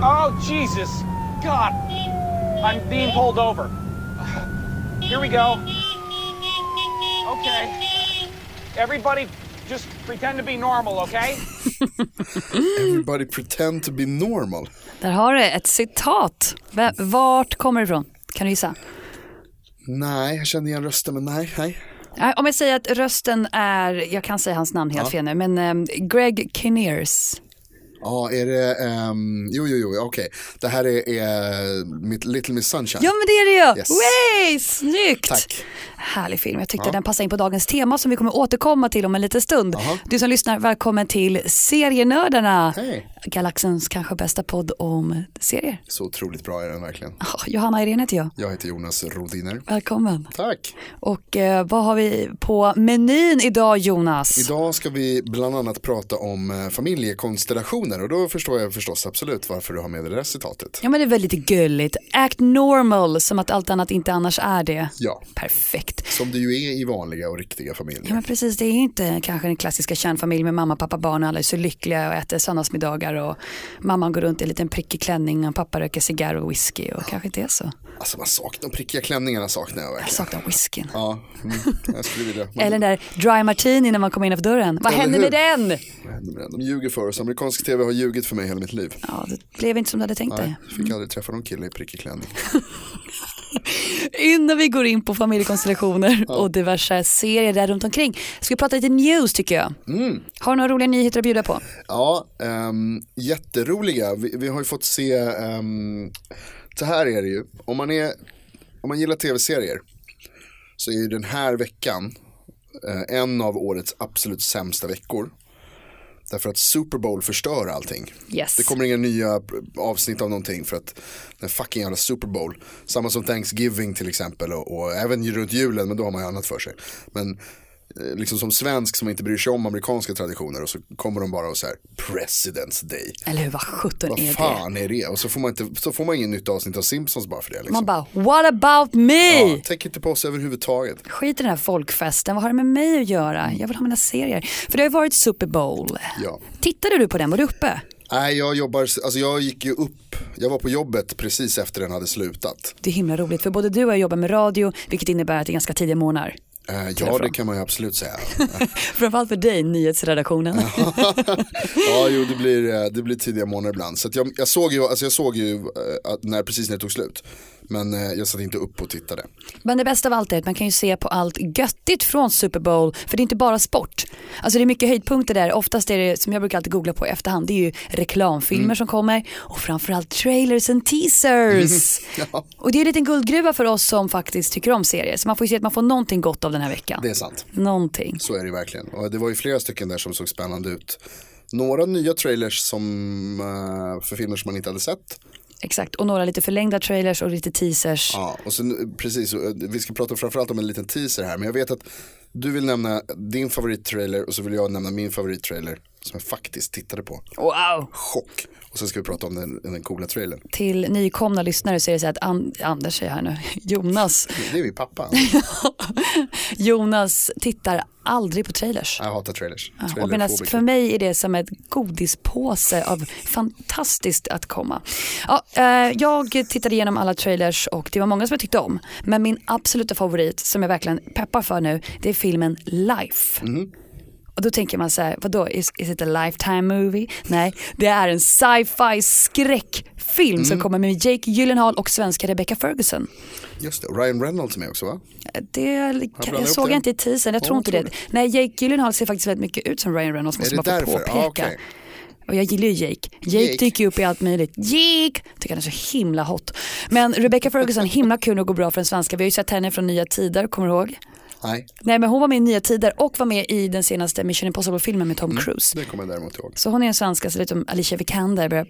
Oh, Jesus. God. I'm being pulled over. Here we go. Okay. Everybody just pretend to be normal, okay? Everybody pretend to be normal. Där har du ett citat. V- Vart kommer det ifrån? Kan du gissa? Nej, jag kände igen rösten men nej, nej. Nej, Om jag säger att rösten är, jag kan säga hans namn helt fel nu, men ehm, Greg Kinnears. Ja, är det, ehm, jo, jo, jo, okej. Det här är, är mitt Little Miss Sunshine. Ja men det är det ju! Yes. Way, snyggt! Tack. Härlig film, jag tyckte den passade in på dagens tema som vi kommer återkomma till om en liten stund. Du som lyssnar, välkommen till Serienördarna. Hej. Galaxens kanske bästa podd om serier. Så otroligt bra är den verkligen. Ah, Johanna Irene heter jag. Jag heter Jonas Rodiner. Välkommen. Tack. Och eh, vad har vi på menyn idag Jonas? Idag ska vi bland annat prata om eh, familjekonstellationer och då förstår jag förstås absolut varför du har med det där citatet. Ja men det är väldigt gulligt. Act normal som att allt annat inte annars är det. Ja. Perfekt. Som det ju är i vanliga och riktiga familjer. Ja men precis, det är inte kanske den klassiska kärnfamilj med mamma, pappa, barn och alla är så lyckliga och äter söndagsmiddagar och mamman går runt i en liten prickig klänning och pappa röker cigarr och whisky och kanske inte är så. Alltså man saknar, de prickiga klänningarna saknar jag Jag verkligen. saknar whiskyn. Ja, mm, jag skulle vilja. Eller den där dry martini när man kommer innanför dörren. Vad Eller hände med den? De ljuger för oss. Amerikansk tv har ljugit för mig hela mitt liv. Ja, det blev inte som du hade tänkt dig. Nej, fick aldrig träffa någon kille i prickig klänning. Innan vi går in på familjekonstellationer och diverse serier där runt omkring. Ska vi prata lite news tycker jag. Mm. Har du några roliga nyheter att bjuda på? Ja, ehm, jätteroliga. Vi, vi har ju fått se, ehm, så här är det ju. Om man, är, om man gillar tv-serier så är ju den här veckan eh, en av årets absolut sämsta veckor. Därför att Super Bowl förstör allting. Yes. Det kommer inga nya avsnitt av någonting för att den fucking jävla Super Bowl. Samma som Thanksgiving till exempel och, och även runt julen men då har man ju annat för sig. Men eh, liksom som svensk som inte bryr sig om amerikanska traditioner och så kommer de bara och så här President's Day. Eller hur, vad sjutton är Vad det? fan liksom. är det? Och så får man, inte, så får man ingen nytt avsnitt av Simpsons bara för det. Liksom. Man bara, what about me? ja, tänk inte på oss överhuvudtaget. Skit i den här folkfesten, vad har det med mig att göra? Jag vill ha mina serier. För det har ju varit Super Bowl. Ja. Tittade du på den, var du uppe? Nej, jag jobbar, alltså jag gick ju upp, jag var på jobbet precis efter den hade slutat. Det är himla roligt för både du och jag jobbar med radio vilket innebär att det är ganska tidiga morgnar. Eh, ja, det kan man ju absolut säga. Framförallt för dig, nyhetsredaktionen. Ja, jo, det blir, eh, det blir tidiga månader ibland. Så att jag, jag såg ju, alltså jag såg ju eh, att när, precis när det tog slut. Men eh, jag satt inte upp och tittade. Men det bästa av allt är att man kan ju se på allt göttigt från Super Bowl för det är inte bara sport. Alltså det är mycket höjdpunkter där. Oftast är det, som jag brukar alltid googla på i efterhand, det är ju reklamfilmer Mm. som kommer och framförallt trailers and teasers. Och det är en liten guldgruva för oss som faktiskt tycker om serier. Så man får ju se att man får någonting gott av den här veckan. Det är sant. Någonting. Så är det verkligen. Och det var ju flera stycken där som såg spännande ut. Några nya trailers som, eh, för filmer som man inte hade sett. Exakt. Och några lite förlängda trailers och lite teasers. Ja, och sen, precis, och, eh, vi ska prata framförallt om en liten teaser här. Men jag vet att du vill nämna din favorittrailer och så vill jag nämna min favorittrailer. Som jag faktiskt tittade på. Wow! Chock. Och sen ska vi prata om den, den coola trailern. Till nykomna lyssnare så är det så här att An- Anders säger här nu, Jonas, Det är min pappa. Jonas tittar aldrig på trailers. Jag hatar trailers. Ja, Och medan för mig är det som ett godispåse av fantastiskt att komma. Ja, eh, jag tittade igenom alla trailers och det var många som jag tyckte om. Men min absoluta favorit som jag verkligen peppar för nu det är filmen Life. Och då tänker man så här, vadå, is, is it a lifetime movie? Nej, det är en sci-fi skräckfilm som kommer med Jake Gyllenhaal och svenska Rebecca Ferguson. Just det, Ryan Reynolds är med också va? Det kan, blandar jag ihop såg det. jag inte i teasern, jag Ja, tror inte tror det. Nej, Jake Gyllenhaal ser faktiskt väldigt mycket ut som Ryan Reynolds måste det man få därför? påpeka. Ja, okej. Och jag gillar ju Jake. Jake, Jake. dyker ju upp i allt möjligt. Jake! Tycker han är så himla hot. Men Rebecca Ferguson, himla kul och går bra för den svenska. Vi har ju sett henne från Nya Tider, kommer du ihåg? Nej, Nej men hon var med i Nya Tider och var med i den senaste Mission Impossible-filmen med Tom Cruise. det kommer jag däremot ihåg. Så hon är en svenska, så lite som Alicia Vikander börjar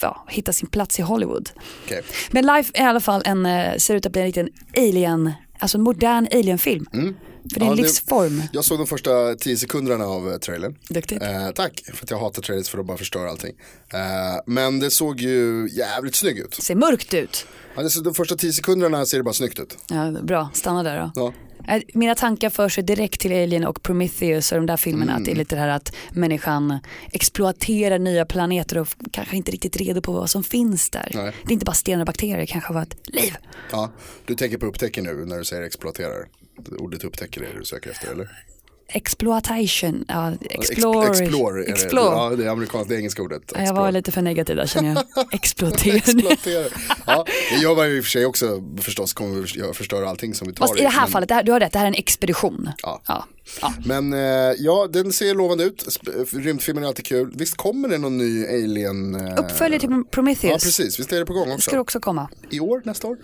ja, hitta sin plats i Hollywood. Okej. Men Life är i alla fall en, eh, ser ut att bli en liten alien, alltså en modern alienfilm. För det är en Mm. Ja, det- livsform. Jag såg de första tio sekunderna av eh, trailern. Duktigt. Eh, tack, för att jag hatar trailers för att de bara förstör allting. Eh, men det såg ju jävligt snygg ut. Ser mörkt ut. Ja, det- så De första tio sekunderna ser det bara snyggt ut. Ja, bra, stanna där då. Ja. Eh, Mina tankar för sig direkt till Alien och Prometheus och de där filmerna. Att det Mm. är lite det här att människan exploaterar nya planeter och f- kanske inte riktigt redo på vad som finns där. Nej. Det är inte bara stenar och bakterier, det kanske var ett liv. Ja, du tänker på upptäcker nu när du säger exploaterar. Ordet upptäcker är det du söker efter eller? Exploitation, ja, explore. Explore. Explore. Är Explore. Det, ja, det är amerikanskt, det är engelska ordet. Ja, Jag var lite för negativ där känner jag. Exploatering. Exploatera. Ja, det gör man ju i och för sig också förstås, kommer vi gör- förstöra allting som vi tar Fast i det här men, fallet, det här, du har rätt, det här är en expedition. Liksom. Ja. Ja. Ja. Men eh, ja, den ser lovande ut, Sp- rymdfilmer är alltid kul. Visst kommer det någon ny alien? eh, Uppföljare till Prometheus. Ja, precis, visst är det på gång Ska det också? också komma. I år, nästa år?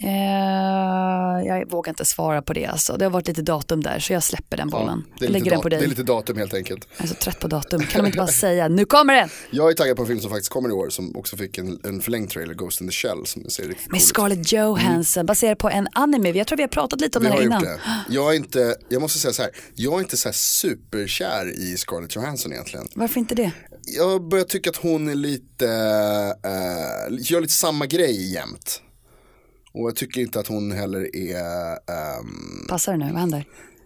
Eh, jag vågar inte svara på det alltså. Det har varit lite datum där så jag släpper den bollen. det, är jag lägger lite den på dat- dig. det är lite datum helt enkelt. Jag är så trött på datum. Kan de inte bara säga nu kommer den? Jag är taggad på en film som faktiskt kommer i år som också fick en, en förlängd trailer, Ghost in the Shell, som ser riktigt Med cool ut. Scarlett Johansson baserad på en anime. Jag tror vi har pratat lite om Mm. Vi den har här gjort innan. det. Jag är inte, jag måste säga så här, jag är inte så här superkär i Scarlett Johansson egentligen. Varför inte det? Jag börjar tycka att hon är lite, eh, gör lite samma grej jämt. Och jag tycker inte att hon heller är, ehm, Passar det nu? Vad händer?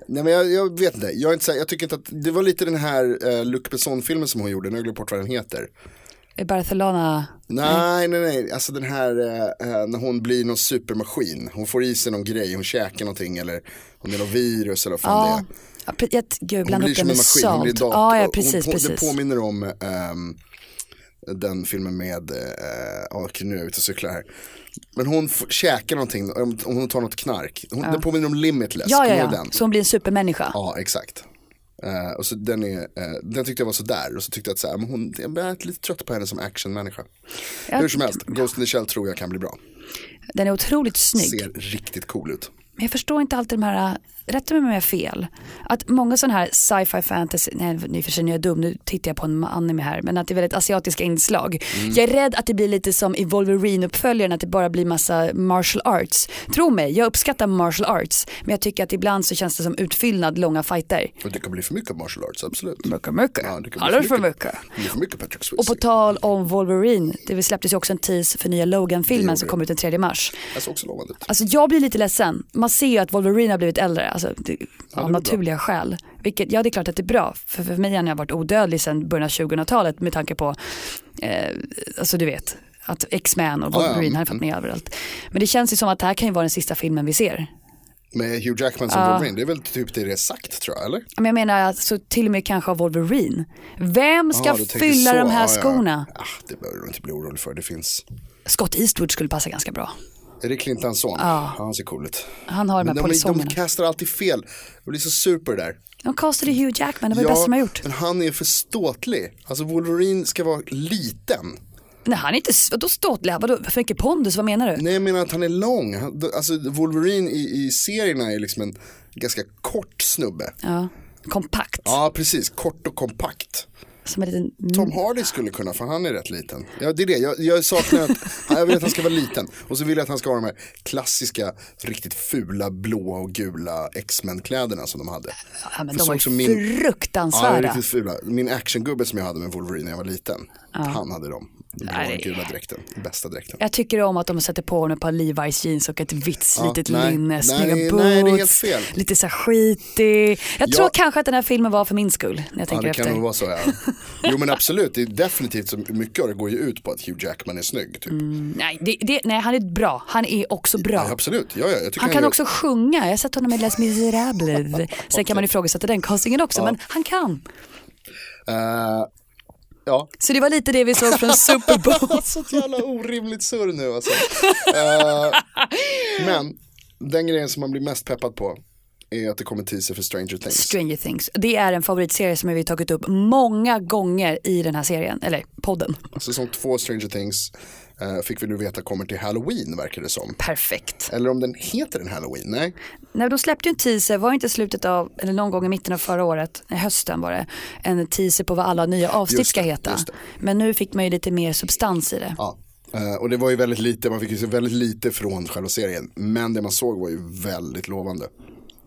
nej men jag, jag vet inte, jag, är inte så här, jag tycker inte att, det var lite den här eh, Luc Besson-filmen som hon gjorde, nu har jag glömt bort vad den heter. Är Barcelona... Nej, nej, nej. Alltså den här eh, eh, när hon blir någon supermaskin. Hon får i sig någon grej, hon käkar någonting eller hon är någon virus eller vad fan det Ja. är. ja pre- jag, gud, jag Hon blandar blir upp den som en maskin, med hon blir Salt. dator. Ja, ja, Hon precis, på, precis. Det påminner om ehm, den filmen med, eh, ja, okej, nu är jag ute och cyklar här. Men hon f- käkar någonting, om om hon tar något knark. Hon, Den påminner om Limitless, ja, ja, kommer du ihåg ja. den? Så hon blir en supermänniska. Ja, exakt. Eh, och så den, är, eh, den tyckte jag var sådär och så tyckte jag att så här, men hon, jag är lite trött på henne som actionmänniska. Ja. Hur som helst, Ghost in the Shell tror jag kan bli bra. Den är otroligt snygg. Ser riktigt cool ut. Men jag förstår inte alltid de här, rätta mig om jag har fel, att många sådana här sci-fi fantasy, nej nu för sig nu är jag dum, nu tittar jag på en anime här, men att det är väldigt asiatiska inslag. Jag är rädd att det blir lite som i Wolverine-uppföljaren, att det bara blir massa martial arts. Tro mig, jag uppskattar martial arts, men jag tycker att ibland så känns det som utfyllnad långa fighter. Och det kan bli för mycket martial arts, absolut. Mycket, mycket. Ja, det kan Alldeles bli för för mycket. mycket. Det blir för mycket Patrick Swayze. Och på tal om Wolverine, det släpptes ju också en tease för nya Logan-filmen som kommer ut den 3 mars. Jag såg också lovande ut. Alltså jag blir lite ledsen. Man ser ju att Wolverine har blivit äldre, alltså, det, av bra. naturliga skäl. Vilket, ja det är klart att det är bra, för, för mig har jag varit odödlig sedan början av 2000-talet med tanke på, eh, alltså du vet, att X-Men och Ja, Mm. ja. Wolverine hade fått med överallt. Men det känns ju som att det här kan ju vara den sista filmen vi ser. Med Hugh Jackman som Wolverine, det är väl typ det det är sagt tror jag, eller? Men jag menar alltså, till och med kanske av Wolverine. Vem ska Ja, du tänker fylla så. de här Ja, ja. skorna? Ah, det behöver du inte bli orolig för, det finns. Scott Eastwood skulle passa ganska bra. Är det Clintans son? Ja. Han ser cool ut. Han har de Men här de, de polisomerna. kastar alltid fel, jag blir så sur på det där. De castade Hugh Jackman, det var det bästa de har gjort. men han är för ståtlig. Alltså Wolverine ska vara liten. Nej han är inte, s- vadå ståtlig, vadå för mycket pondus, vad menar du? Nej jag menar att han är lång. Han- Alltså Wolverine i, i serierna är liksom en ganska kort snubbe. Ja, kompakt. Ja precis, kort och kompakt. Som en liten... Tom Hardy skulle kunna för han är rätt liten. Ja det är det, jag, jag saknar att, ja, jag vill att han ska vara liten. Och så vill jag att han ska ha de här klassiska, riktigt fula blåa och gula X-Men kläderna som de hade. Ja, men För de så var ju också min- Ja, de fruktansvärda. är riktigt fula. Min actiongubbe som jag hade med Wolverine när jag var liten, han hade dem. Den blåa Nej. och gula dräkten, den bästa dräkten. Jag tycker om att de sätter på honom ett par Levi's jeans och ett vitt Ja, slitet nej. linne, Nej, snygga nej, boots, det är helt fel. lite så här skitig. Jag Ja. tror kanske att den här filmen var för min skull, när jag Ja, tänker det kan efter. nog vara så ja. Jo men absolut, det är definitivt så mycket av det går ju ut på att Hugh Jackman är snygg. Typ. Nej, det, det, nej, han är bra. Han är också bra. Ja, absolut, ja, ja, jag tycker Han kan gör- också sjunga. Jag har sett honom i Les Misérables. Sen kan man ifrågasätta den castingen också, men han kan. Eh, ja, Så det var lite det vi såg från Super Bowl. Sånt jävla orimligt surr nu alltså. Eh, men den grejen som man blir mest peppad på är att det kommer teaser för Stranger Things. Stranger Things. Det är en favoritserie som vi har tagit upp många gånger i den här serien, eller podden. Säsong två Stranger Things eh, fick vi nu veta kommer till Halloween verkar det som. Perfekt. Eller om den heter den Halloween, nej. Nej, de släppte ju en teaser, var det inte slutet av, eller någon gång i mitten av förra året, nej, hösten var det, en teaser på vad alla nya avsnitt Just ska det, heta. just det. Men nu fick man ju lite mer substans i det. Ja. Eh, Och det var ju väldigt lite, man fick ju se väldigt lite från själva serien. Men det man såg var ju väldigt lovande.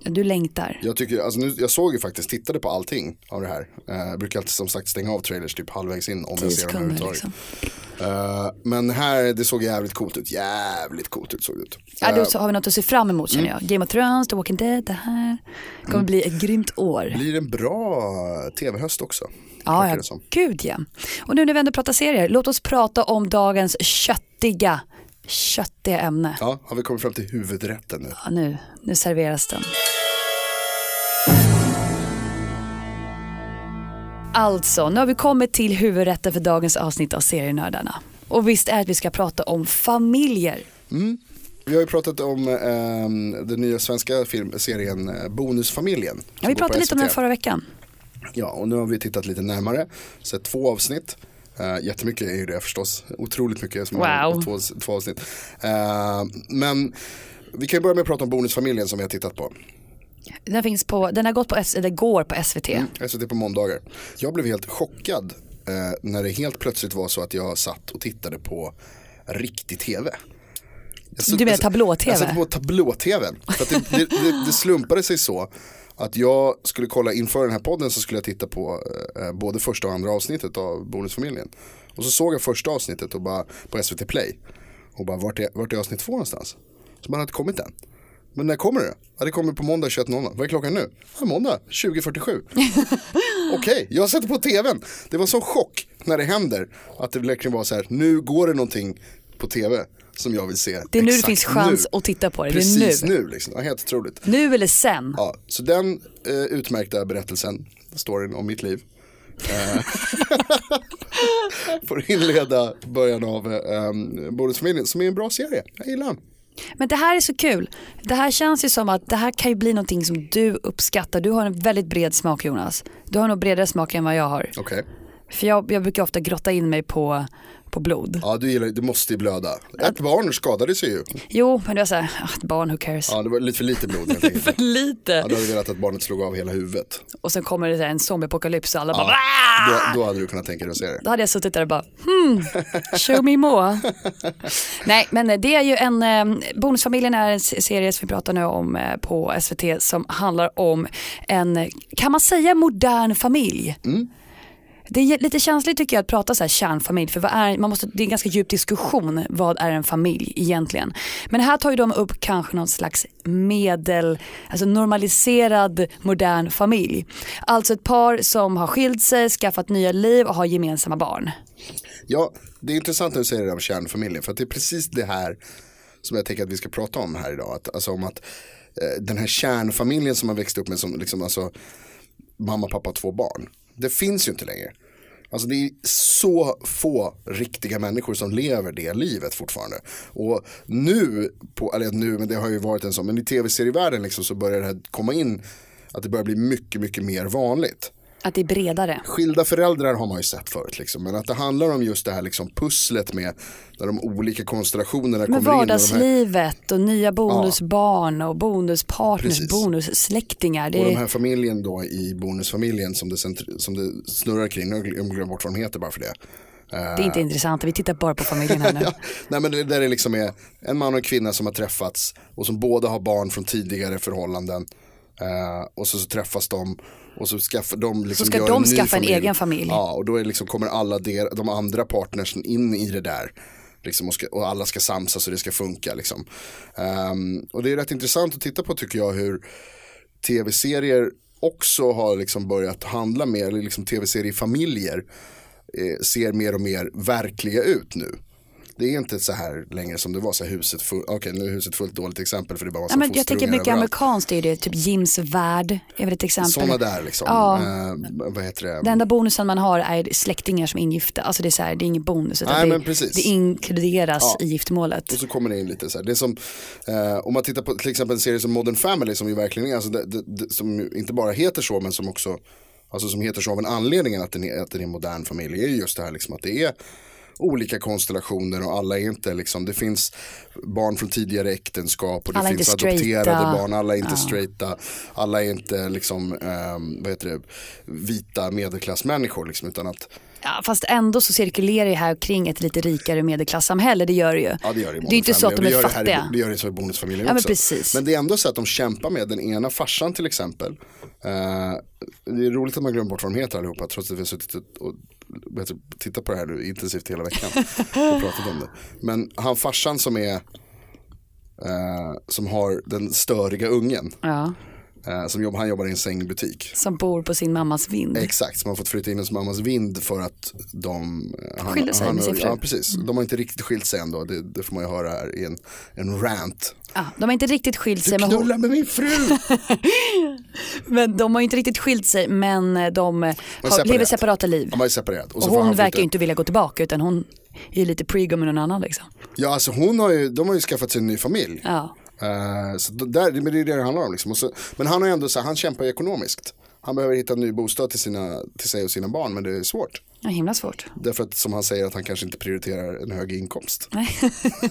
Du längtar. Jag, tycker, alltså nu, jag såg ju faktiskt, tittade på allting av det här. Eh, Jag brukar alltid som sagt stänga av trailers typ halvvägs in om Tio jag ser dem sekunder, överhuvudtaget. liksom. Eh, Men här, det såg jävligt coolt ut. Jävligt coolt ut såg det ut. Ja, Eh, mm. då så har vi något att se fram emot känner jag. Game of Thrones, The Walking Dead, det här kommer bli ett grymt år. Blir det en bra tv-höst också? Ja, verkar ja. det som. gud ja. Och nu när vi ändå pratar serier, låt oss prata om dagens köttiga, köttiga ämne. ja. Har vi kommit fram till huvudrätten nu? Ja, nu, nu serveras den. Alltså, nu har vi kommit till huvudrätten för dagens avsnitt av Serienördarna. Och visst är det att vi ska prata om familjer. Vi har ju pratat om eh, den nya svenska film- serien eh, Bonusfamiljen. Ja, som vi går på E pratade lite om den SVT. förra veckan. Ja, och nu har vi tittat lite närmare. Sett två avsnitt. Uh, jättemycket är ju det förstås. Otroligt mycket. Som har- Wow. Två, två avsnitt. Eh, men vi kan ju börja med att prata om Bonusfamiljen som vi har tittat på. Den, finns på, den har gått på, S- eller går på SVT. SVT Alltså, på måndagar. Jag blev helt chockad eh, när det helt plötsligt var så att jag satt och tittade på riktig Alltså, tv. Jag satt- Du menar jag satt- tablå-tv? Jag satte på tablå-tv. För att det, det, det, det slumpade sig så att jag skulle kolla inför den här podden så skulle jag titta på eh, både första och andra avsnittet av Bonusfamiljen. Och så såg jag första avsnittet och bara, på SVT Play och bara vart är, vart är avsnitt två någonstans? Så man hade inte kommit än. Men när kommer det? Ja, det kommer på måndag 21.00. Vad är klockan nu? Ja, måndag 20.47. Okej, jag sätter på tvn. Det var sån chock när det händer. Att det verkligen var så här, nu går det någonting på tv som jag vill se. Det är nu det exakt finns chans att titta på det. Det är Precis nu. nu liksom. ja, helt otroligt. Nu eller sen. Ja, så den eh, utmärkta berättelsen, storyn om mitt liv. Eh, får inleda början av eh, Bonusfamiljen som är en bra serie. Jag gillar den. Men det här är så kul. Det här känns ju som att det här kan ju bli någonting som du uppskattar. Du har en väldigt bred smak Jonas. Du har nog bredare smak än vad jag har. Okej, För jag, jag brukar ofta grotta in mig på, på blod. ja du gillar, det måste ju blöda. Ett barn skadade sig ju. Jo, men det var såhär, ah, ett barn, who cares. Ja, det var lite för lite blod helt enkelt. För lite. Ja, du hade velat att barnet slog av hela huvudet. Och sen kommer det så här en zombieapokalyps och alla bara, "Ah!" Då, då hade du kunnat tänka dig att se det. då hade jag suttit där och bara, hmm, show me more. Nej, men det är ju en, eh, Bonusfamiljen är en se- serie som vi pratar nu om eh, på SVT som handlar om en, kan man säga modern familj? Det är lite känsligt tycker jag att prata så här kärnfamilj för vad är, man måste, det är en ganska djup diskussion vad är en familj egentligen. Men här tar ju de upp kanske någon slags medel, alltså normaliserad modern familj. Alltså ett par som har skilt sig, skaffat nya liv och har gemensamma barn. Ja, det är intressant när du säger det där om kärnfamiljen. För att det är precis det här som jag tänker att vi ska prata om här idag. Att, alltså om att eh, den här kärnfamiljen som man växte upp med som liksom alltså mamma, pappa, två barn. Det finns ju inte längre. Alltså det är så få riktiga människor som lever det livet fortfarande. Och nu, på, eller nu, men det har ju varit en sån, men i tv-serievärlden liksom så börjar det här komma in att det börjar bli mycket, mycket mer vanligt Att det är bredare. skilda föräldrar har man ju sett förut. Liksom. Men att det handlar om just det här liksom, pusslet med när de olika konstellationerna Med kommer in. Och de, här, vardagslivet och nya bonusbarn och bonuspartners, Precis. bonussläktingar. Det och de är, här familjen då i bonusfamiljen som det, centr- som det snurrar kring. Nu har jag glömt bort vad de heter bara för det. det är inte intressant, vi tittar bara på familjen här nu. Ja, nej men det, där det liksom är en man och en kvinna som har träffats och som båda har barn från tidigare förhållanden. Eh, och så, så träffas de och så skaffar de liksom Så ska gör de en ny skaffa en familj. egen familj. Ja och då är liksom, kommer alla der, de andra partners in i det där. Liksom och, ska, och alla ska samsas och det ska funka liksom. Ehm, och det är rätt intressant att titta på tycker jag hur tv-serier också har liksom börjat handla mer, eller liksom tv-seriefamiljer eh, ser mer och mer verkliga ut nu. Det är inte så här längre som det var, så här huset fullt, okej nu är huset fullt dåligt exempel för det är bara massa Ja, men jag tänker fosterungar mycket överallt. amerikanskt är ju det, typ Jims värld är väl ett exempel. Sådana där liksom, Ja. eh, vad heter det? Den enda bonusen man har är släktingar som är ingifta, alltså det är, så här, det är ingen bonus utan Nej, det, men precis. det inkluderas Ja. i giftermålet. Och så kommer det in lite så här. Det är som, eh, om man tittar på till exempel en serie som Modern Family som ju verkligen är, alltså, det, det, det, som ju inte bara heter så men som också, alltså som heter så av en anledning att den är, att den är en modern familj, är ju just det här liksom att det är olika konstellationer och alla är inte liksom, det finns barn från tidigare äktenskap och det Alla är finns inte straighta. adopterade barn, alla är inte straighta, alla är inte liksom, ehm, vad heter det, vita medelklassmänniskor liksom, utan att Ja, fast ändå så cirkulerar det här kring ett lite rikare medelklassamhälle, det gör det ju. Ja det gör det i är inte så att de bonusfamiljer. det är gör Det, fattiga. här, i- det gör det så i bonusfamiljen Ja, men också. precis. Men det är ändå så att de kämpar med den ena farsan till exempel. Eh, det är roligt att man glömmer bort vad de heter allihopa trots att vi har suttit och- och vet du, tittat på det här nu intensivt hela veckan. och pratat om det. Men han farsan som är eh, som har den störiga ungen. Ja, eh, som jobbar, han jobbar i en sängbutik. som bor på sin mammas vind. Exakt, som har fått flytta in hos mammas vind för att de eh, han, Skilde sig med sin fru. Ja, precis. De har inte riktigt skilt sig ändå, det, det får man ju höra här i en, en rant. Ja, de har inte riktigt skilt sig, men, hon, Knulla med min fru! men de har inte riktigt skilt sig, men eh, de har, separerat. lever separata liv. De var ju separerat. Och, så får hon han flytta- verkar ju inte vilja gå tillbaka, utan hon är ju lite prego med någon annan liksom. Ja, alltså hon har ju, de har ju skaffat sig en ny familj. Ja. Eh, så det, där, men det är det det handlar om. Liksom. Och så, men han har ju ändå så här, han kämpar ju ekonomiskt. Han behöver hitta en ny bostad till, sina, till sig och sina barn, men det är svårt. Ja, himla svårt. Därför att som han säger att han kanske inte prioriterar en hög inkomst. Nej.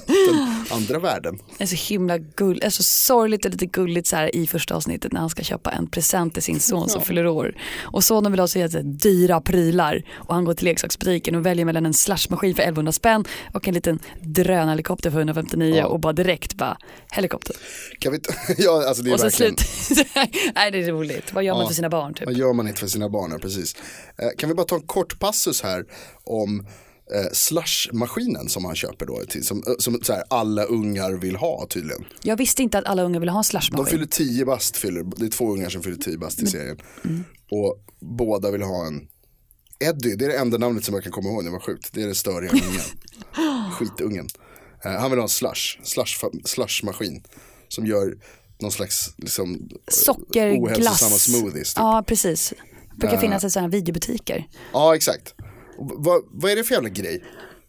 Den andra världen. Det är så himla gull, det är så sorgligt och lite gulligt så här i första avsnittet när han ska köpa en present till sin son som fyller år. Och sonen vill ha så jätte dyra prylar och han går till leksaksbutiken och väljer mellan en slashmaskin för 1100 spänn och en liten drönarhelikopter för 159 och bara direkt bara helikopter. Kan vi inte- ja, alltså det är Och så verkligen- slut. Nej det är roligt, vad gör man Ja. för sina barn typ? Vad gör man inte för sina barn? Ja, precis. Eh, kan vi bara ta en kort passus här om eh, slushmaskinen som han köper då. Till, som eh, som så här, alla ungar vill ha tydligen. Jag visste inte att alla unga ville ha en De slashmaskin. fyller 10 bast, fyller, det är två ungar som fyller 10 Mm. bast i serien. Och båda vill ha en Eddie, det är det enda namnet som jag kan komma ihåg, det var sjukt. Det är det störiga ungen. Skitungen. Eh, han vill ha en slush, slush, slushmaskin. Som gör någon slags liksom, eh, ohälsosamma Sockerglass. smoothies. Typ. Äh. Ja precis. Det brukar finnas i sådana videobutiker. Ja, exakt. Och Vad vad är det för jävla grej?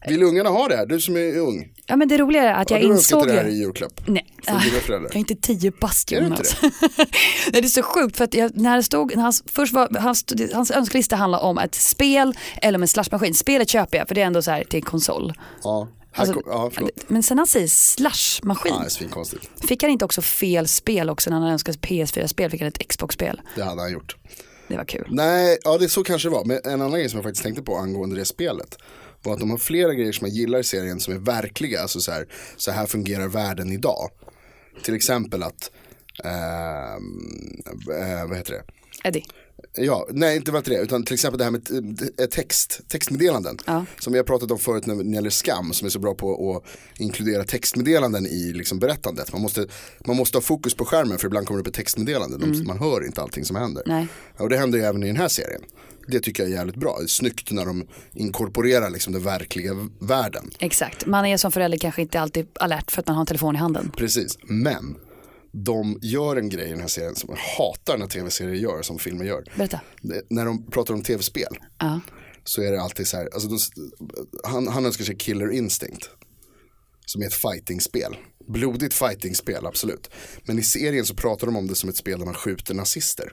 Vill ungarna ha det här? Du som är ung. Ja men det roliga är att Har jag du önskat insåg dig det här ju- i julklapp? Nej, Ah. Från dina föräldrar? jag är inte tio bast Är du Jonas. inte Nej, det är så sjukt för att jag, när det stod, när hans, först var, hans, hans önskelista handlar om ett spel eller om en slashmaskin. Spelet köper jag för det är ändå så här till konsol. Ja, här Alltså, kom, ja förlåt. men sen han Ja, säger det slashmaskin, är svinkonstigt. fick han inte också fel spel också när han önskade ett PS4-spel, fick han ett Xbox-spel. Det hade han gjort. Det var kul. Nej, ja det så kanske det var. Men en annan grej som jag faktiskt tänkte på angående det spelet var att de har flera grejer som jag gillar i serien som är verkliga. Alltså så här, så här fungerar världen idag. Till exempel att, ehm, eh, vad heter det? Eddie, Ja, nej inte bara till det, utan till exempel det här med eh, text, textmeddelanden. Som vi har pratat om förut när när det gäller skam, som är så bra på att inkludera textmeddelanden i liksom berättandet. Man måste, man måste ha fokus på skärmen för ibland kommer det upp ett textmeddelande, De- man hör inte allting som händer. Nej. Och det händer ju även i den här serien. Det tycker jag är jävligt bra, det är snyggt när de inkorporerar liksom den verkliga v- världen. exakt. Man är som förälder kanske inte alltid alert för att man har en telefon i handen. Precis, men de gör en grej i den här serien som jag hatar när tv-serier gör, som filmer gör. Berätta. Det- När de pratar om tv-spel Ja. så är det alltid så här, alltså de, han, han önskar sig Killer Instinct. Som är ett fightingspel. Blodigt fightingspel, absolut. Men i serien så pratar de om det som ett spel där man skjuter nazister.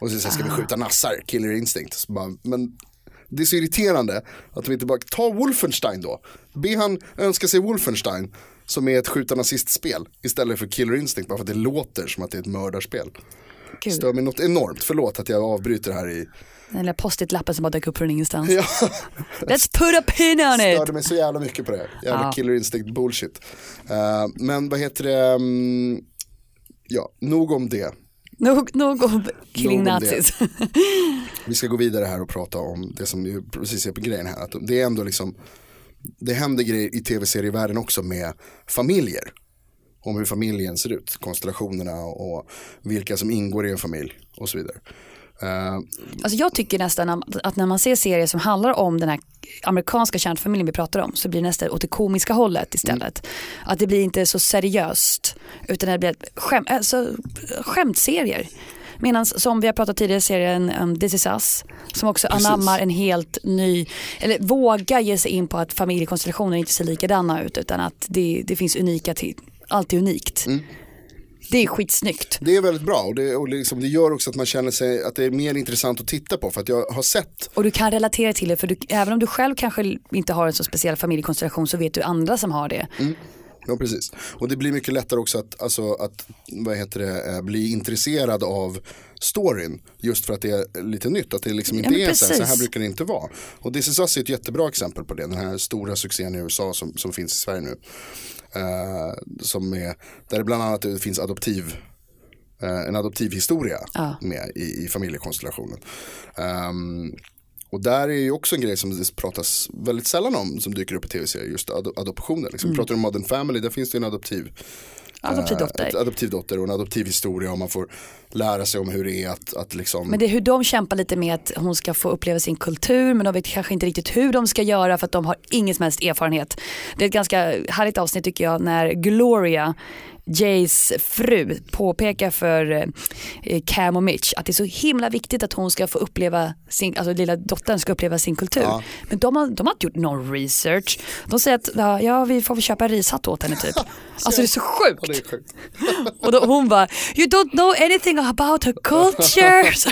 Och så, så här, ska vi skjuta nassar, Killer Instinct. Så bara, men det är så irriterande att de inte bara, ta Wolfenstein då. Be han önska sig Wolfenstein. Som är ett skjuta nazistspel istället för Killer Instinct bara för att det låter som att det är ett mördarspel. Gud, Stör mig något enormt, förlåt att jag avbryter här i den lilla post-it-lappen som bara dök upp från ingenstans. Ja, Let's put a pin on it! störde mig så jävla mycket på det. här. Jävla Ja. killer instinct bullshit. Eh, men vad heter det? mm, Ja, nog om det. Nog, nog om Nog kring om det. nazis. Vi ska gå vidare här och prata om det som ju precis är på grejen här. Att det är ändå liksom, det händer grejer i tv-serievärlden också med familjer. Om hur familjen ser ut, konstellationerna och vilka som ingår i en familj och så vidare. Eh, Alltså jag tycker nästan att när man ser serier som handlar om den här amerikanska kärnfamiljen vi pratar om så blir det nästan åt det komiska hållet istället. Att det blir inte så seriöst utan det blir ett skäm, alltså, skämtserier. Medan som vi har pratat tidigare serien um, This is us som också anammar en helt ny, eller vågar ge sig in på att familjekonstellationer inte ser likadana ut utan att det, det finns unika, till, allt är unikt. Det är skitsnyggt. Det är väldigt bra och, det, och liksom, det gör också att man känner sig att det är mer intressant att titta på för att jag har sett Och du kan relatera till det för du, även om du själv kanske inte har en så speciell familjekonstellation så vet du andra som har det. Ja, precis. Och det blir mycket lättare också att, alltså, att vad heter det, eh, bli intresserad av storyn. Just för att det är lite nytt, att det liksom Ja, inte men är så här, så här precis. brukar det inte vara. Och This is Us är ett jättebra exempel på det, den här stora succén i USA som, som finns i Sverige nu. Eh, som är, där det bland annat finns adoptiv eh, en adoptivhistoria med i, i familjekonstellationen. Ehm, och där är ju också en grej som det pratas väldigt sällan om som dyker upp i tv-serier, just ad adoptioner. Liksom. Mm. Pratar du om Modern Family, där finns det ju en adoptiv Adoptivdotter. ett adoptivdotter och en adoptivhistoria och man får lära sig om hur det är att, att liksom Men det är hur de kämpar lite med att hon ska få uppleva sin kultur men de vet kanske inte riktigt hur de ska göra för att de har ingen som helst erfarenhet. Det är ett ganska härligt avsnitt tycker jag när Gloria Jays fru påpekar för eh, Cam och Mitch att det är så himla viktigt att hon ska få uppleva sin, alltså lilla dottern ska uppleva sin kultur. Men de har, de har inte gjort någon research. De säger att ja, ja vi får väl köpa en rishatt åt henne typ. Alltså det är så sjukt. Ja, det är sjukt. Och då, hon bara, you don't know anything about her culture. Så-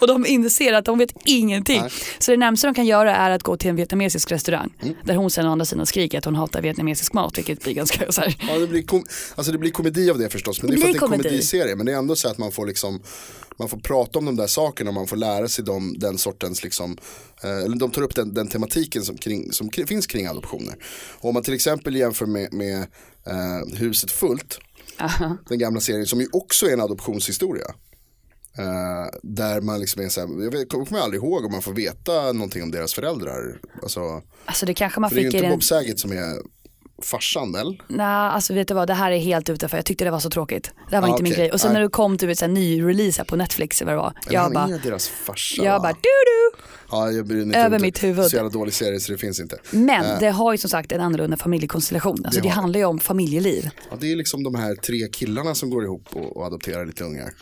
och de inser att de vet ingenting. Så det närmaste de kan göra är att gå till en vietnamesisk restaurang. Mm. Där hon sen å andra sidan skriker att hon hatar vietnamesisk mat, vilket blir ganska så här. Ja, det, blir kom- alltså det blir komedi av det förstås, men det, Det är för att blir det är en komedi. komediserie. Men det är ändå så att man får, liksom, man får prata om de där sakerna och man får lära sig dem, den sortens, liksom, eh, eller de tar upp den, den tematiken som, kring, som kri- finns kring adoptioner. Och om man till exempel jämför med, med eh, Huset fullt, den gamla serien som ju också är en adoptionshistoria. Eh, där man liksom är så här, jag vet, kommer aldrig ihåg om man får veta någonting om deras föräldrar. Alltså, Alltså det kanske man för det är ju fick i inte den, Bob Saget som är farsan, eller? nej alltså vet du vad, det här är helt utanför, jag tyckte det var så tråkigt. Det här var Ah, inte min okej. grej. Och sen Nej. när det kom typ en ny release här på Netflix eller vad det var. Men Jag han bara, är deras farsa. jag va? bara, du du. ja, jag bryr mig inte över om det. mitt huvud. Mm. Så jävla dålig serie så det finns inte. Men det har ju som sagt en annorlunda familjekonstellation. Alltså Äh. Det det, har det. handlar ju om familjeliv. Ja, det är liksom de här tre killarna som går ihop och, och adopterar lite ungar.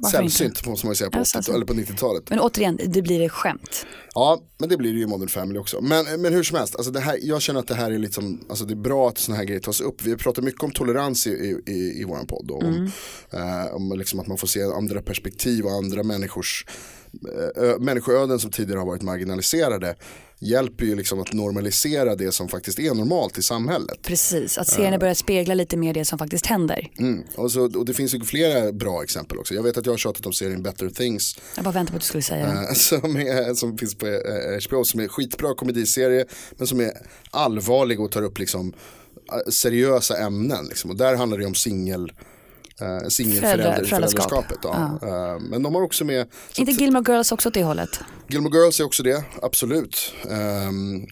Varför inte? Sällsynt måste man ju säga på, Ja, 80-talet, sällsynt. eller på 90-talet. Men återigen, det blir ett skämt. Ja, men det blir det ju i Modern Family också. Men, men hur som helst, alltså det här, jag känner att det här är liksom, alltså det är bra att sådana här grejer tas upp. Vi pratar mycket om tolerans i, i, i, i vår podd. Och om, eh, om liksom att man får se andra perspektiv och andra människors eh, ö- människoöden som tidigare har varit marginaliserade hjälper ju liksom att normalisera det som faktiskt är normalt i samhället. Precis, att serien börjar spegla lite mer det som faktiskt händer. Mm. Och, så, och det finns ju flera bra exempel också. Jag vet att jag har tjatat om serien Better Things Jag bara väntar på att du skulle säga det. eh, som, är, som finns på eh, HBO som är skitbra komediserie men som är allvarlig och tar upp liksom eh, seriösa ämnen. Liksom. Och där handlar det om singel eh, Föräldra- singelförälder- föräldraskap. föräldraskapet. Ja. Eh, Men de har också med, så Inte Gilmore Girls också åt det hållet? Gilmore Girls är också det, absolut. Ehm,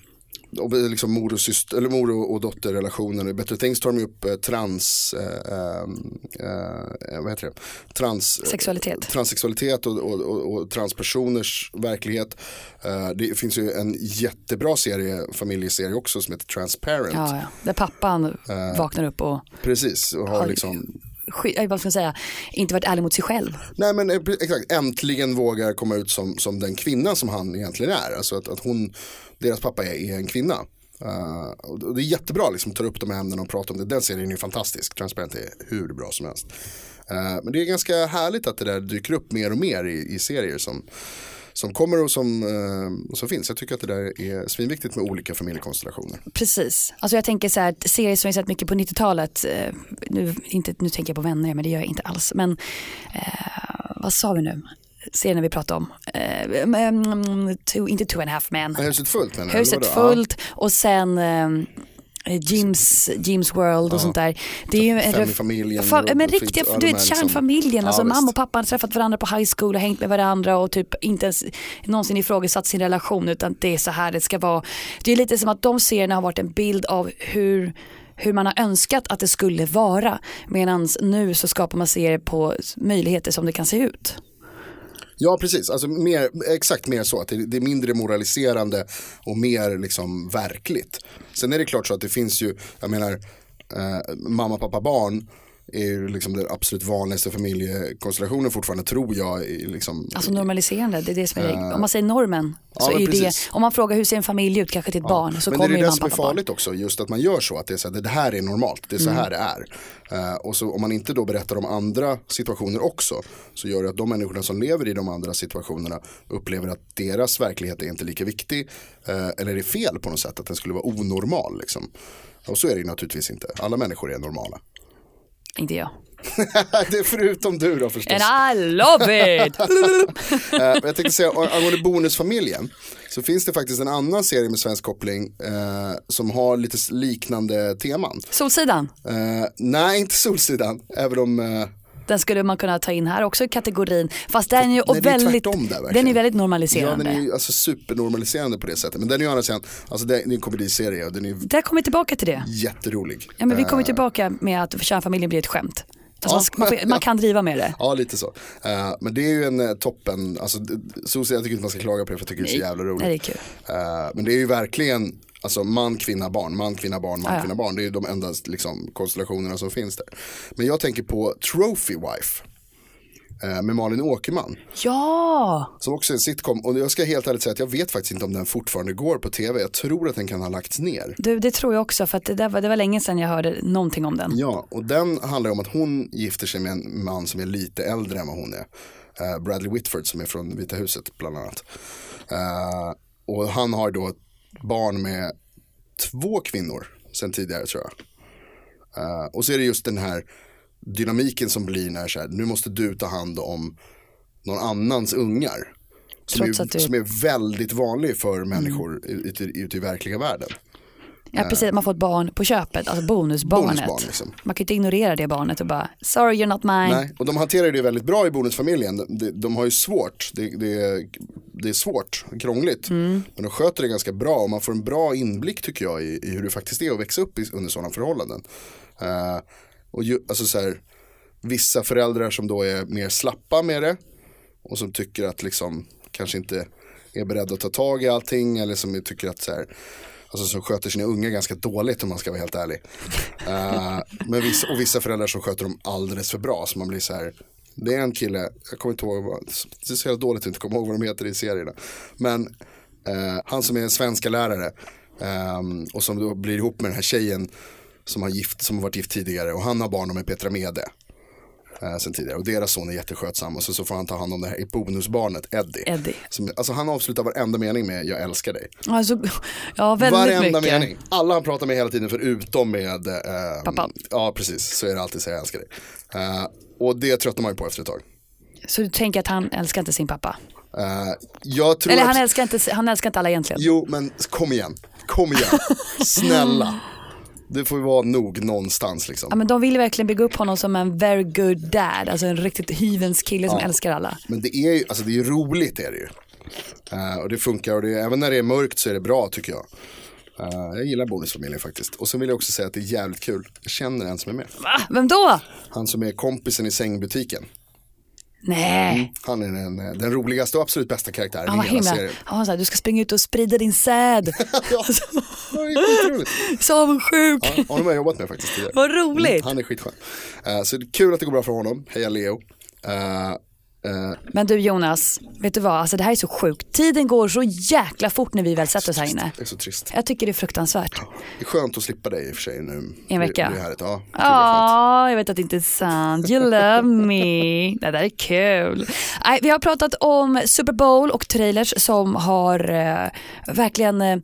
och det är liksom mor och, syster, eller mor och, och dotterrelationen. I Better Things tar de ju upp eh, trans, eh, ehm, eh, vad heter det? trans eh, Sexualitet. transsexualitet och, och, och, och transpersoners verklighet. Eh, det finns ju en jättebra serie, familjeserie också som heter Transparent. Ja, ja. Där pappan vaknar upp och, Precis, och har Har- liksom sky- eh, vad ska man säga, inte varit ärlig mot sig själv. Nej men eh, pre- exakt, äntligen vågar komma ut som, som den kvinna som han egentligen är. Alltså att, att hon, deras pappa är, är en kvinna. Eh, och och det är jättebra liksom, tar upp de här ämnena och pratar om det. Den serien är ju fantastisk, Transparent är hur bra som helst. Eh, men det är ganska härligt att det där dyker upp mer och mer i, i serier som, som kommer och som, eh, och som finns. Jag tycker att det där är svinviktigt med olika familjekonstellationer. Precis, alltså jag tänker så här, att serier som jag sett mycket på 90-talet, eh, nu, inte, nu tänker jag på vänner, men det gör jag inte alls. Men eh, vad sa vi nu? Serien vi pratade om, eh, mm, mm, two, inte two and a half men. Huset fullt menar du, eller Huset vadå? fullt och sen ehm, Jims, Jims World och sånt där. Det är ju en Fem i familjen Fa- och- men och riktiga, fint- ja, de du vet här liksom- kärnfamiljen, alltså Ja, mamma visst. och pappa har träffat varandra på high school och hängt med varandra och typ inte ens någonsin ifrågasatt sin relation utan det är så här det ska vara. Det är lite som att de serierna har varit en bild av hur hur man har önskat att det skulle vara medan nu så skapar man serier på möjligheter som det kan se ut. Ja, precis. Alltså, mer, exakt mer så. Att det, det är mindre moraliserande och mer liksom, verkligt. Sen är det klart så att det finns ju, jag menar, eh, mamma, pappa, barn är ju liksom den absolut vanligaste familjekonstellationen fortfarande tror jag. i Liksom, Alltså normaliserande, det är det som är Om man säger normen, Eh. ja, så men är det, precis. om man frågar hur ser en familj ut, kanske till ett barn, så Men det kommer är ju det man som är pappa barn. farligt också, just att man gör så, att det är så här, det här är normalt, det är så Mm. här det är. Eh, och så om man inte då berättar om andra situationer också, så gör det att de människorna som lever i de andra situationerna upplever att deras verklighet är inte lika viktig, eh, eller är fel på något sätt, att den skulle vara onormal liksom. Och så är det ju naturligtvis inte, alla människor är normala. Inte jag. det är förutom du då förstås. And I love it! Eh, jag tänkte säga ang- angående Bonusfamiljen så finns det faktiskt en annan serie med svensk koppling eh, som har lite s- liknande teman. Solsidan, Eh, nej, inte Solsidan, även om eh, den skulle man kunna ta in här också i kategorin, fast den är ju och Nej, det är väldigt, tvärtom där, verkligen. den är väldigt ja, den normaliserande. är ju alltså, supernormaliserande på det sättet. Men den är ju å andra sidan, alltså det är det är en komediserie och den är Där kommer vi tillbaka till det. jätterolig. Ja, men vi Eh, kommer tillbaka med att kärnfamiljen blir ett skämt. Alltså Ja. man, ska- man, får, man kan driva med det. Ja, lite så. Eh, men det är ju en eh, toppen, alltså, d- d- Solsidan jag tycker inte man ska klaga på det för jag tycker det är så jävla roligt. Nej, det är kul. Eh, men det är ju verkligen alltså, man, kvinna, barn, man, kvinna, barn, man, Ah, ja. kvinna, barn. Det är ju de enda liksom, konstellationerna som finns där. Men jag tänker på Trophy Wife. eh, Med Malin Åkerman. Ja, Som också är en sitcom. Och jag ska helt ärligt säga att jag vet faktiskt inte om den fortfarande går på tv. Jag tror att den kan ha lagts ner. du det tror jag också för att det, där var, det var länge sedan jag hörde någonting om den. Ja, och den handlar om att hon gifter sig med en man som är lite äldre än vad hon är. Eh, Bradley Whitford som är från Vita huset bland annat. Eh, och han har då ett barn med två kvinnor sen tidigare tror jag. Eh, och så är det just den här dynamiken som blir när så här, nu måste du ta hand om någon annans ungar. Som, Trots att är, du- Mm. som är väldigt vanlig för människor ute, ute i verkliga världen. Ja, precis, man får ett barn på köpet, alltså bonusbarnet. Eh. Bonusbarn, liksom. Man kan ju inte ignorera det barnet och bara, sorry you're not mine. Nej, och de hanterar ju det väldigt bra i bonusfamiljen. De, de, de har ju svårt, det, det, är- det är svårt, krångligt. Men de sköter det ganska bra och man får en bra inblick tycker jag i, i hur det faktiskt är att växa upp i, under sådana förhållanden. Eh, och ju, alltså så här, vissa föräldrar som då är mer slappa med det och som tycker att liksom kanske inte är beredda att ta tag i allting eller som tycker att så här Alltså som sköter sina unga ganska dåligt om man ska vara helt ärlig. Eh, men vissa, och vissa föräldrar som sköter dem alldeles för bra. Så man blir så här. Det är en kille, jag kommer inte ihåg, vad- det är så jävla dåligt att inte komma ihåg vad de heter i serierna. Men eh, han som är en svenska lärare ehm, och som då blir ihop med den här tjejen som har, gift, som har varit gift tidigare och han har barn med Petra Mede. eh, sen tidigare. Och deras son är jätteskötsam och så, så får han ta hand om det här bonusbarnet Eddie. Eddie. Som, alltså han avslutar varenda mening med jag älskar dig. Alltså, ja, väldigt Varenda mycket. mening. Alla han pratar med hela tiden förutom med eh, Pappa. Ja precis, så är det alltid så jag älskar dig. Eh, och det tröttnar man ju på efter ett tag. Så du tänker att han älskar inte sin pappa? Eh, jag tror Eller att, han älskar, inte, han älskar inte alla egentligen? Jo men kom igen, kom igen, snälla. Det får ju vara nog någonstans liksom. Ja, men de vill ju verkligen bygga upp honom som en very good dad, alltså en riktigt hyvens kille som Ja. älskar alla. Men det är ju, alltså det är ju roligt är det ju. Eh, och det funkar och det, även när det är mörkt så är det bra tycker jag. Eh, jag gillar Bonusfamiljen faktiskt. Och sen vill jag också säga att det är jävligt kul. Jag känner en som är med. Va? Vem då? Han som är kompisen i sängbutiken. Nej, Han är den, eh, den roligaste och absolut bästa karaktären han var i hela himla, serien. han var såhär, du ska springa ut och sprida din säd. Ja, det är skitroligt. Så avundsjuk. Ja, Honom har jag jobbat med faktiskt tidigare. Vad roligt. Mm, Han är skitskön. Eh, så det är kul att det går bra för honom. Heja Leo. Eh, eh, Men du Jonas, vet du vad, alltså det här är så sjukt. Tiden går så jäkla fort när vi väl sätter oss här inne. det är så trist. Jag tycker det är fruktansvärt. Det är skönt att slippa dig i och för sig nu. I en vecka. Det, det här, är ett- ja, det var skönt. Ja, jag vet att det inte är sant. You love me. Det där är kul. Nej, vi har pratat om Super Bowl och trailers som har eh, verkligen eh,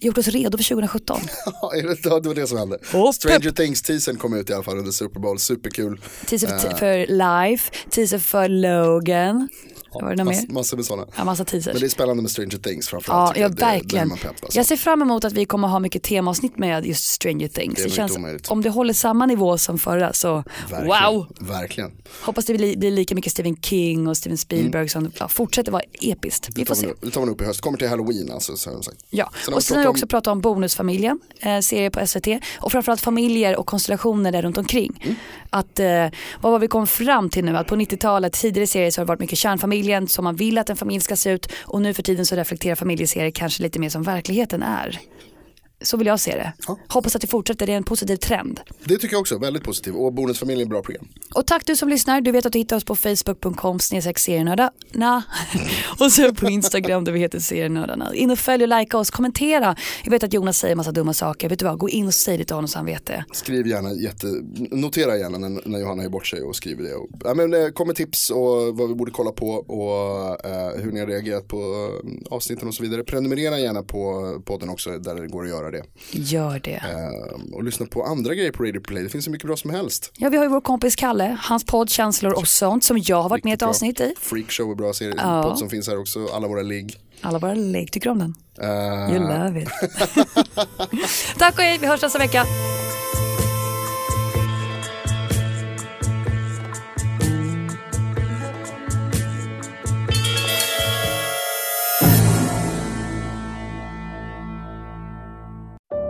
gjort oss redo för 2017. Ja, är det- ja, det var det som hände. Och Stranger Things-teasern kom ut i alla fall under Super Bowl. Superkul. Teaser för, för Life, teaser för Logan. Var det något Mass, mer? massor med sådana. Ja, massa teasers. Men det är spännande med Stranger Things framförallt. Ja, tycker ja jag. Det- där är verkligen. man pepp, alltså. Jag ser fram emot att vi kommer ha mycket temaavsnitt med just Stranger Things. Det är Det nog känns, inte omöjligt. om det håller samma nivå som förra så Verkligen. wow. Verkligen. Hoppas det blir, blir lika mycket Stephen King och Steven Spielberg som ja, fortsätter vara episkt. Vi tar får man se. upp- Mm. Det tar man upp i höst, kommer till halloween alltså. Så, så. Ja, har och vi sen har vi pratat också om- pratat om Bonusfamiljen, eh, serie på SVT och framförallt familjer och konstellationer där runt omkring. Mm. Att, eh, vad var vi kom fram till nu, att på 90-talet, tidigare serier så har det varit mycket kärnfamiljen som man vill att en familj ska se ut och nu för tiden så reflekterar familjeserier kanske lite mer som verkligheten är. Så vill jag se det. Ja. Hoppas att det fortsätter, det är en positiv trend. Det tycker jag också, väldigt positivt. Och Bonusfamiljen är bra program. Och tack du som lyssnar, du vet att du hittar oss på facebook.com serienördarna och så på Instagram där vi heter serienördarna. In och följ och likea oss, kommentera. Jag vet att Jonas säger massa dumma saker, vet du vad, gå in och säg det till honom så han vet det. Skriv gärna, jätte, notera gärna när, när Johanna är bort sig och skriver det. Och, ja, men, eh, kom med tips och vad vi borde kolla på och eh, hur ni har reagerat på eh, avsnitten och så vidare. Prenumerera gärna på podden också där det går att göra det. Gör det. Eh, och lyssna på andra grejer på Radio Play, det finns så mycket bra som helst. Ja, vi har ju vår kompis Kalle, hans podd Känslor och sånt som jag har varit med i ett Bra. avsnitt i. Freakshow är bra serie, Ja. podd som finns här också, alla våra ligg. Alla våra lek tycker om den. Eh, You love it. Tack och hej, vi hörs nästa vecka.